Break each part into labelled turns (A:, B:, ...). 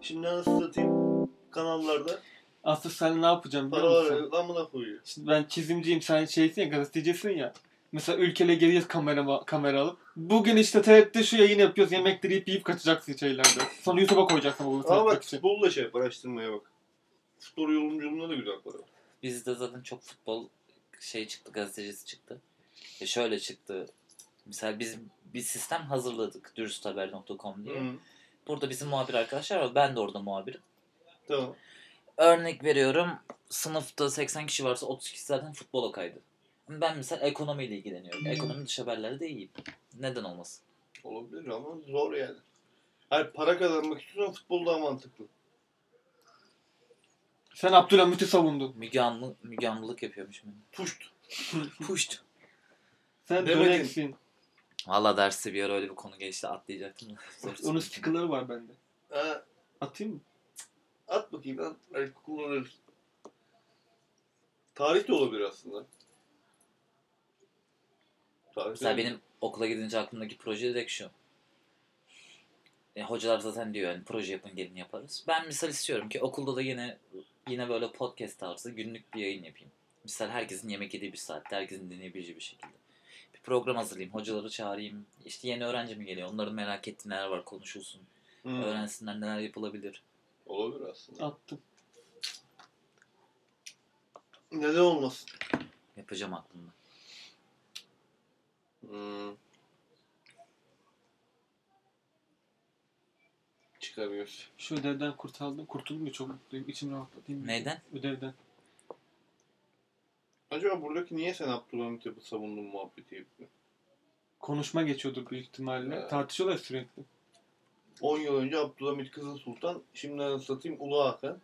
A: Şimdi nasıl satayım kanallarda
B: Asıl sen ne yapacağım biliyor
A: paralar
B: musun?
A: veriyor. Lan buna koyuyor.
B: Şimdi ben çizimciyim sen şeysin ya gazetecisin ya. Mesela ülkele geleceğiz kamera, kamera alıp. Bugün işte TRT'de şu yayını yapıyoruz. Yemekleri yiyip yiyip kaçacaksın şeylerde. Sonra YouTube'a koyacaksın bunu
A: Ama
B: tanıtmak
A: bak
B: için.
A: futbolla şey yap araştırmaya bak. Futbol yorumculuğunda da güzel para. var.
C: Bizde zaten çok futbol şey çıktı, gazetecisi çıktı. E şöyle çıktı. Mesela biz bir sistem hazırladık dürüsthaber.com diye.
A: Hı.
C: Burada bizim muhabir arkadaşlar var. Ben de orada muhabirim.
A: Tamam.
C: Örnek veriyorum. Sınıfta 80 kişi varsa 30 kişi zaten futbola kaydı. Ben mesela ekonomiyle ilgileniyorum. Ekonomi dış haberlerde de iyiyim. Neden olmasın?
A: Olabilir ama zor yani. Hayır para kazanmak istiyorsan futbol daha mantıklı.
B: Sen Abdülhamit'i savundun.
C: Müge, Anlı, Müge Anlılık yapıyormuş benim.
A: Puşt.
C: Puşt.
B: Sen
A: Demedin.
B: döneksin.
C: Valla derste bir ara öyle bir konu geçti atlayacaktım. da. Zor
B: Onun
C: soru.
B: stickerları var bende.
A: Ha,
B: Atayım mı?
A: at bakayım lan. Belki kullanırız. Tarih de olabilir aslında. Tarih de
C: Mesela
A: olabilir.
C: benim okula gidince aklımdaki proje direkt şu. E, hocalar zaten diyor yani proje yapın gelin yaparız. Ben misal istiyorum ki okulda da yine yine böyle podcast tarzı günlük bir yayın yapayım. Misal herkesin yemek yediği bir saatte herkesin dinleyebileceği bir şekilde. Bir program hazırlayayım, hocaları çağırayım. İşte yeni öğrenci mi geliyor? Onların merak ettiği neler var konuşulsun.
A: Hı,
C: Öğrensinler neler yapılabilir.
A: Olabilir aslında.
B: Attım.
A: Neden olmasın?
C: Yapacağım aklımda.
A: Hmm. Çıkarıyoruz.
B: Şu ödevden kurtardım. Kurtuldum ya çok mutluyum. İçim rahatlatayım.
C: Neyden?
B: Ödevden.
A: Acaba buradaki niye sen Abdülhamit yapı savundun muhabbeti yapıyor?
B: Konuşma geçiyordur büyük ihtimalle.
A: Evet.
B: Tartışıyorlar sürekli.
A: 10 yıl önce Abdülhamit Kızıl Sultan, şimdi anasını satayım Ulu Hakan.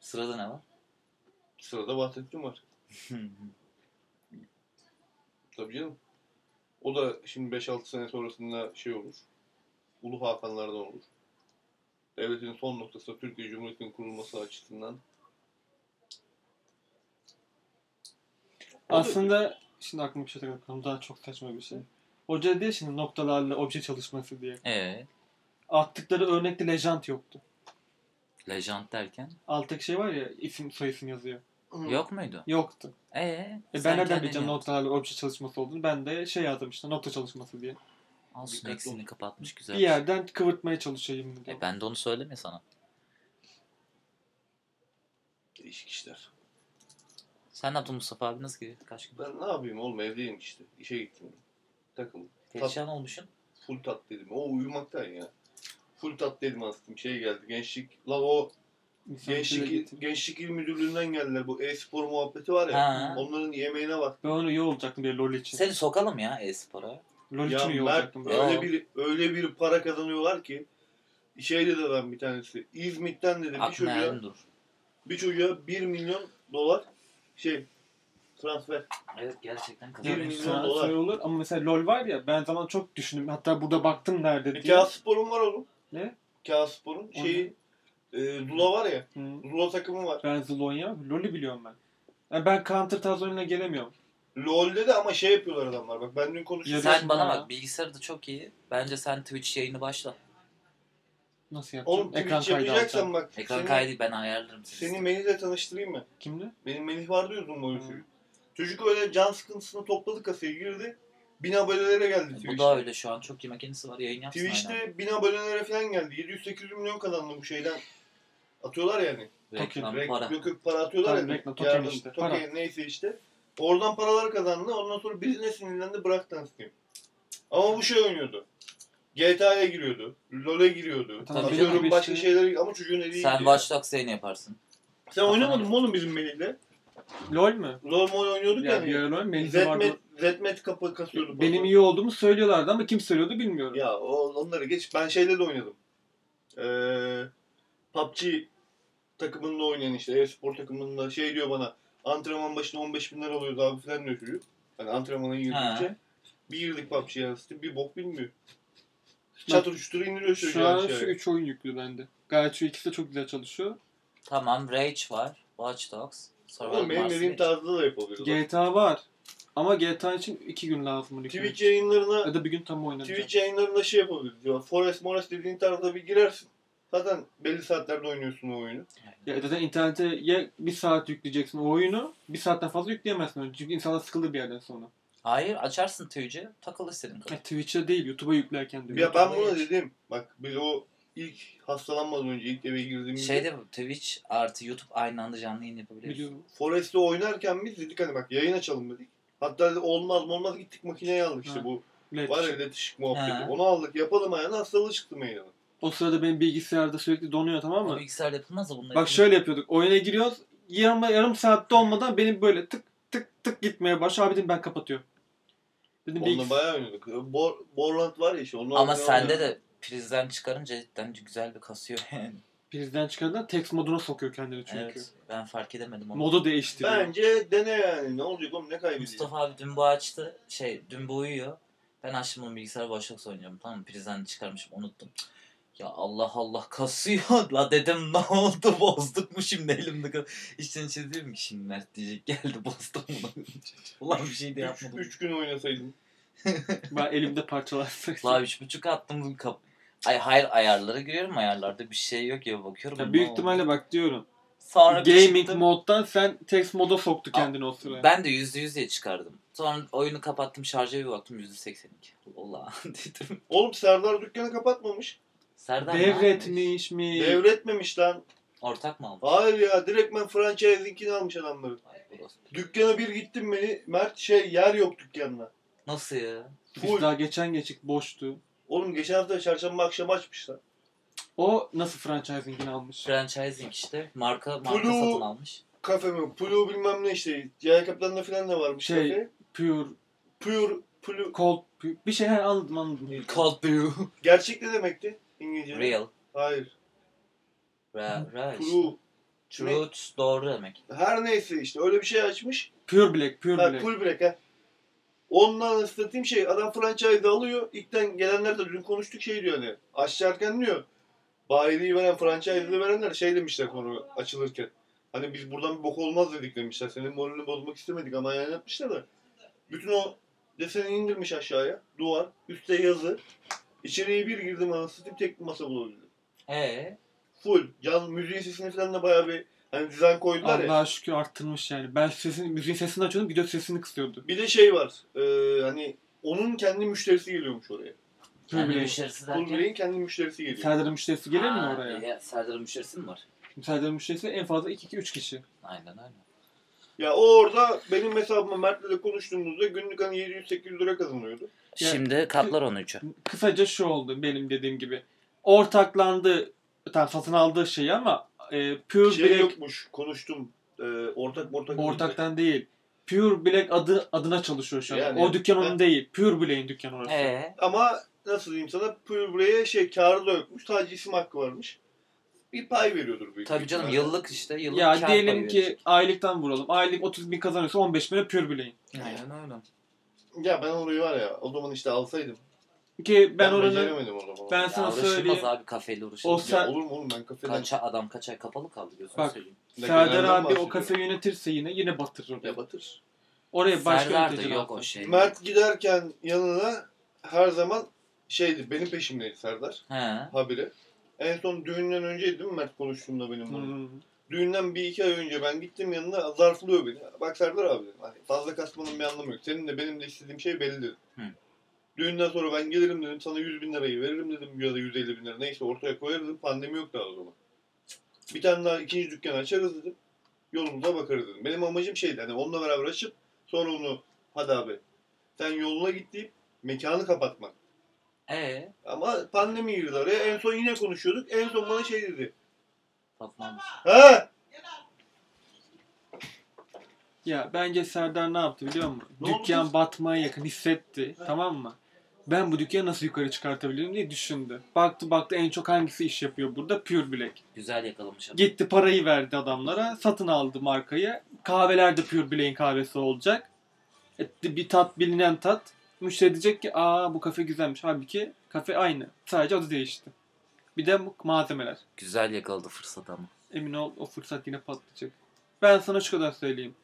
C: Sırada ne var?
A: Sırada Bahsettin var. Tabii canım. O da şimdi 5-6 sene sonrasında şey olur. Ulu Hakanlardan olur. Devletin son noktası Türkiye Cumhuriyeti'nin kurulması açısından. O da-
B: Aslında şimdi aklıma bir şey takıldı. Daha çok saçma bir şey. Hoca dedi ya şimdi noktalarla obje çalışması diye.
C: Eee?
B: Attıkları örnekte lejant yoktu.
C: Lejant derken?
B: Alttaki şey var ya isim soyisim yazıyor.
A: Hı.
C: Yok muydu? Ee,
B: Yoktu.
C: Eee?
B: E ben nereden bileceğim noktalarla obje çalışması olduğunu? Ben de şey yazdım işte nokta çalışması diye.
C: Olsun
A: Dikkatli
C: eksiğini kapatmış güzel.
B: Bir yerden kıvırtmaya çalışayım dedim.
C: E ben de onu söyledim ya sana.
A: Değişik işler.
C: Sen ne yaptın Mustafa abi nasıl gidiyor? Kaç gün?
A: Ben ne yapayım oğlum evdeyim işte. İşe gittim. Takıldım.
C: Perişan olmuşsun.
A: Full tat dedim. O uyumaktan ya. Full tat dedim aslında. Şey geldi. Gençlik. Lan o
B: İnsan bir şey
A: gençlik,
B: getirdi.
A: gençlik il müdürlüğünden geldiler. Bu e-spor muhabbeti var ya.
C: Ha.
A: Onların yemeğine bak.
B: Ben onu iyi olacaktım bir lol için.
C: Seni sokalım ya e-spora.
B: Lol
A: Ya
B: için iyi
A: Mert
B: olacaktım.
C: Ya.
A: öyle bir öyle bir para kazanıyorlar ki şey dedi adam bir tanesi. İzmit'ten dedi bir
C: Aklına
A: çocuğa,
C: yardım dur.
A: bir çocuğa 1 milyon dolar şey transfer.
C: Evet gerçekten
A: Bir
B: Yani
C: kazanıyorsun.
A: milyon
B: sana-
A: dolar.
B: sana olur ama mesela lol var ya ben zaman çok düşündüm. Hatta burada baktım nerede diye.
A: E, Kağıt Spor'un var oğlum.
B: Ne?
A: Kağıt Spor'un
B: O
A: şeyi e, Zula var ya.
B: Hı.
A: Zula takımı var.
B: Ben Zlonya, lol'i biliyorum ben. Yani ben Counter Taz oyununa gelemiyorum.
A: LoL'de de ama şey yapıyorlar adamlar. Bak ben dün konuştum.
B: Ya
C: Sen bana
B: Ya.
C: bak bilgisayarı da çok iyi. Bence sen Twitch yayını başla.
B: Nasıl yapacağım?
A: Oğlum
B: Ekran
A: Twitch
B: kaydı alacağım.
A: yapacaksan bak.
C: Ekran
A: seni,
C: kaydı ben ayarlarım seni.
A: Seni Melih'le tanıştırayım mı?
B: Kimdi?
A: Benim Melih vardı ya uzun boylu
B: Hı.
A: çocuk. Çocuk öyle can sıkıntısını topladı kasaya girdi. Bin abonelere geldi
C: Bu
A: Twitch'te.
C: da öyle şu an çok iyi makinesi var yayın yapsın aynen.
A: Twitch'te 1000 abonelere falan geldi. 700-800 milyon kazandı bu şeyden. Atıyorlar yani.
C: Reklam
A: Rek-
C: para.
A: Yok yok para atıyorlar
B: Tabii
A: ya.
B: reklam, token
A: Yardım,
B: işte,
A: token,
B: para.
A: neyse işte. Oradan paralar kazandı. Ondan sonra birine sinirlendi bıraktı anasını. Ama bu şey oynuyordu. GTA'ya giriyordu. LoL'e giriyordu.
B: E, Tabii
A: Atıyorum
B: canım,
A: başka
B: işte.
A: şeylere ama çocuğun eli
C: Sen
A: iyiydi.
C: Watch Dogs yayını yaparsın.
A: Sen oynamadın mı oğlum bizim Melih'le?
B: LOL mü?
A: LoL mol oynuyorduk
B: Ya bir
A: yani.
B: ara LOL Melih'e vardı.
A: Zetmet, Zetmet kapı kasıyordu.
B: Benim iyi olduğumu söylüyorlardı ama kim söylüyordu bilmiyorum.
A: Ya o- onları geç. Ben şeyde de oynadım. Ee, PUBG takımında oynayan işte e-spor takımında şey diyor bana antrenman başına 15 bin lira alıyordu abi falan diyor çocuk. Hani antrenmana girdikçe.
C: Ha.
A: Bir girdik PUBG'ye yansıtı bir bok bilmiyor. Çatır çutur indiriyor çocuğu.
B: Şu an
A: yani
B: şu
A: şey.
B: 3 oyun yüklü bende. Gayet şu ikisi de çok güzel çalışıyor.
C: Tamam Rage var. Watch Dogs. Survival
A: Oğlum benim
C: Mars
A: dediğim
C: Rage.
A: tarzda da yapabiliyorlar.
B: GTA var. Ama GTA için 2 gün lazım. bunu yüklemek
A: Twitch
B: için.
A: yayınlarına
B: Ya da bir gün tam oynayacağım.
A: Twitch yayınlarında şey yapabiliriz. diyor. Forest Morris dediğin tarzda bir girersin. Zaten belli saatlerde oynuyorsun o oyunu.
B: Ya zaten internete ya bir saat yükleyeceksin o oyunu, bir saatten fazla yükleyemezsin onu. Çünkü insanlar sıkılır bir yerden sonra.
C: Hayır açarsın Twitch'i takıl istediğin kadar.
B: Ya Twitch'e değil, YouTube'a yüklerken diyor.
A: Ya ben
C: YouTube'a
A: buna
C: geç.
A: dedim. Bak biz o ilk hastalanmadan önce ilk eve girdiğimizde
C: Şeyde Şey bu, Twitch artı YouTube aynı anda canlı yayın yapabiliyorsun.
B: Biliyorum.
A: Forest'te oynarken biz dedik hani bak yayın açalım dedik. Hatta dedi, olmaz mı olmaz gittik makineyi aldık işte
B: Ha.
A: bu
B: Evet.
A: var ya iletişik muhabbeti.
C: Ha.
A: Onu aldık yapalım ayağına hastalığı çıktı meydana.
B: O sırada benim bilgisayarda sürekli donuyor tamam
C: Ama
B: mı?
C: bilgisayarda yapılmaz da bunlar.
B: Bak şöyle yapıyorduk. Oyuna giriyoruz. Yarım, yarım saatte olmadan benim böyle tık tık tık gitmeye başlıyor. Abi dedim ben kapatıyorum. Dedim
A: Onunla
B: bilgis-
A: bayağı oynadık. Bor Borland var ya işte. Onu
C: Ama sende de prizden çıkarınca cidden güzel bir kasıyor yani.
B: Birden çıkardığında text moduna sokuyor kendini çünkü.
C: evet. Ben fark edemedim onu.
B: Modu değiştiriyor.
A: Bence dene yani. Ne olacak oğlum ne kaybedecek?
C: Mustafa abi dün bu açtı. Şey dün bu uyuyor. Ben açtım bunu bilgisayar boşluk oynuyorum tamam mı? Prizden çıkarmışım unuttum. Ya Allah Allah kasıyor la dedim ne oldu bozduk mu şimdi elimde kadar. İçten içe diyorum ki şimdi Mert diyecek geldi bozdum bunu. Ulan bir şey de
A: Üç,
C: yapmadım.
A: üç gün oynasaydım.
B: Ben elimde parçalarsın.
C: La üç buçuk attım kap. Ay hayır ayarlara giriyorum ayarlarda bir şey yok ya bakıyorum.
B: Ya
C: ne
B: büyük
C: oldu?
B: ihtimalle bak diyorum.
C: Sonra bir
B: Gaming
C: çıktım.
B: moddan sen text moda soktu kendini o sıraya.
C: Ben de yüzde yüz diye çıkardım. Sonra oyunu kapattım şarja bir baktım yüzde seksen iki. Allah dedim.
A: Oğlum Serdar dükkanı kapatmamış.
C: Serdar ne yapmış?
B: Devretmiş mi?
A: Devretmemiş lan.
C: Ortak mı almış?
A: Hayır ya direktmen franchise'inkini almış adamları.
C: Ay, bu dost.
A: Dükkana bir gittim beni. Mert şey yer yok dükkanda.
C: Nasıl ya?
A: Full.
B: Biz daha geçen geçik boştu.
A: Oğlum geçen hafta çarşamba akşamı açmışlar.
B: O nasıl franchising'ini almış?
C: Franchising işte. Marka marka
A: Blue-
C: satın almış.
A: Kafe mi? Pulu bilmem ne işte. Yaya kaplarında falan da varmış
B: Şey-
A: kafe.
B: Pure,
A: Pure, Pulu.
B: cold, pure. bir şey her anladım anladım.
C: Cold brew.
A: Gerçek ne demekti İngilizce?
C: Real.
A: Hayır.
C: Ra, ra işte.
A: Pulu.
C: Truth doğru demek.
A: Her neyse işte öyle bir şey açmış.
B: Pure black, pure
A: Ha,
B: black.
A: Full break ha. Ondan satayım şey adam franchise alıyor. İlkten gelenler de dün konuştuk şey diyor hani. Açarken diyor. Bayiliği veren, franchise'ı verenler şey demişler konu açılırken. Hani biz buradan bir bok olmaz dedik demişler. Senin moralini bozmak istemedik ama yani yapmışlar da. Bütün o deseni indirmiş aşağıya. Duvar. Üstte yazı. İçeriye bir girdim anasını satayım tek bir masa bulabildim.
C: Ee,
A: Full. Can müziğin sesini falan da bayağı bir hani düzen koydular ya.
B: Allah'a şükür arttırmış yani. Ben sesini, müziğin sesini açıyordum gidiyor sesini kısıyordu.
A: Bir de şey var. E, hani onun kendi müşterisi geliyormuş oraya.
B: Pure
C: kendi
B: black.
C: müşterisi
A: Cool
C: derken.
A: Brewery'in kendi müşterisi geliyor.
B: Serdar'ın müşterisi gelir mi
C: Ha,
B: oraya?
C: ya, Serdar'ın müşterisi mi var?
B: Serdar'ın müşterisi en fazla 2-3 kişi.
C: Aynen aynen.
A: Ya o orada benim hesabıma Mert'le de konuştuğumuzda günlük hani 700-800 lira kazanıyordu.
B: Ya-
C: Şimdi katlar 13'ü.
B: Kısaca şu oldu benim dediğim gibi. Ortaklandı, tamam satın aldığı şeyi ama e, Pure
A: Şey
B: Black
A: yokmuş konuştum. Ee, ortak ortak.
B: Ortaktan değil. Pure Black adı adına çalışıyor şu an.
A: Yani-
B: o dükkan onun
A: Ha.
B: değil. Pure Black'in dükkanı orası.
C: Ee,
A: Ama nasıl diyeyim sana Pürbrey'e şey karı da yokmuş. Sadece isim hakkı varmış. Bir pay veriyordur büyük
C: tabii canım
A: ihtimalle.
C: yıllık işte yıllık
B: ya
C: kar
B: diyelim
C: payı
B: ki
C: verecek.
B: aylıktan vuralım. Aylık 30 bin kazanıyorsa 15 bine Pure Black'in.
C: Aynen öyle.
A: Ya ben orayı var ya o zaman işte alsaydım.
B: Ki ben,
A: Ben,
B: oranın
A: beceremedim o zaman.
B: ben
C: Ya
B: sana
C: uğraşılmaz
B: söyleyeyim.
C: abi kafeyle
B: O
C: uğraşılmaz.
A: Ya
B: ser,
A: olur mu oğlum ben kafeden
C: Kaç adam kaç ay kapalı kaldı gözünü
B: Bak,
C: seveyim.
B: Serdar
A: Nelerden
B: abi o
A: bahsediyorum?
B: kafe yönetirse yine yine batırır oraya.
A: Ya batır.
B: Oraya başka
C: Serdar da
B: yönetici
C: yok o
B: yok.
C: şey.
A: Mert giderken yanına her zaman şeydi benim peşimdeydi Serdar.
C: He.
A: habire. En son düğünden önceydi değil mi Mert konuştuğumda benim bunu?
B: Hmm.
A: Düğünden bir iki ay önce ben gittim yanına zarflıyor beni. Bak Serdar abi dedim, hani fazla kasmanın bir anlamı yok. Senin de benim de istediğim şey belli dedim.
C: Hı.
A: Düğünden sonra ben gelirim dedim sana 100 bin lirayı veririm dedim ya da 150 bin lira neyse ortaya koyarız dedim. Pandemi yok daha o zaman. Bir tane daha ikinci dükkan açarız dedim. Yolumuza bakarız dedim. Benim amacım şeydi hani onunla beraber açıp sonra onu hadi abi sen yoluna git deyip mekanı kapatmak.
C: Ee,
A: Ama pandemi girdi araya. En son yine konuşuyorduk. En son bana şey dedi.
C: Fatma
A: Ha?
B: Ya bence Serdar ne yaptı biliyor musun?
A: Ne oldu
B: Dükkan
A: kız?
B: batmaya yakın hissetti. Tamam mı? Ben bu dükkanı nasıl yukarı çıkartabilirim diye düşündü. Baktı baktı en çok hangisi iş yapıyor burada? Pure Black.
C: güzel yakalamış adam.
B: Gitti parayı verdi adamlara. Satın aldı markayı. Kahveler de Pure Black'in kahvesi olacak. Etti bir tat bilinen tat. Müşteri diyecek ki aa bu kafe güzelmiş. Halbuki kafe aynı. Sadece adı değişti. Bir de bu malzemeler.
C: Güzel yakaladı fırsat ama.
B: Emin ol o fırsat yine patlayacak. Ben sana şu kadar söyleyeyim.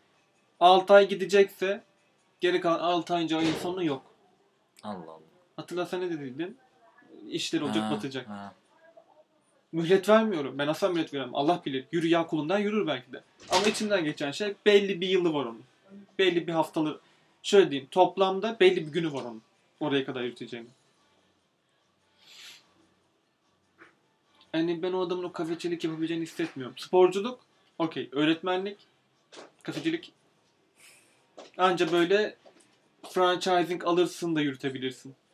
B: 6 ay gidecekse geri kalan 6 ayınca ayın sonu yok.
C: Allah Allah.
B: Hatırlasana ne dediydin? İşler olacak
C: Ha,
B: batacak.
C: ha.
B: Mühlet vermiyorum. Ben asla mühlet veremem. Allah bilir. Yürü ya kulundan yürür belki de. Ama içimden geçen şey belli bir yılı var onun. Belli bir haftalı. Şöyle diyeyim. Toplamda belli bir günü var onun. Oraya kadar yürüteceğim. Yani ben o adamın o kafecilik yapabileceğini hissetmiyorum. Sporculuk, okey. Öğretmenlik, kafecilik. Anca böyle franchising alırsın da yürütebilirsin.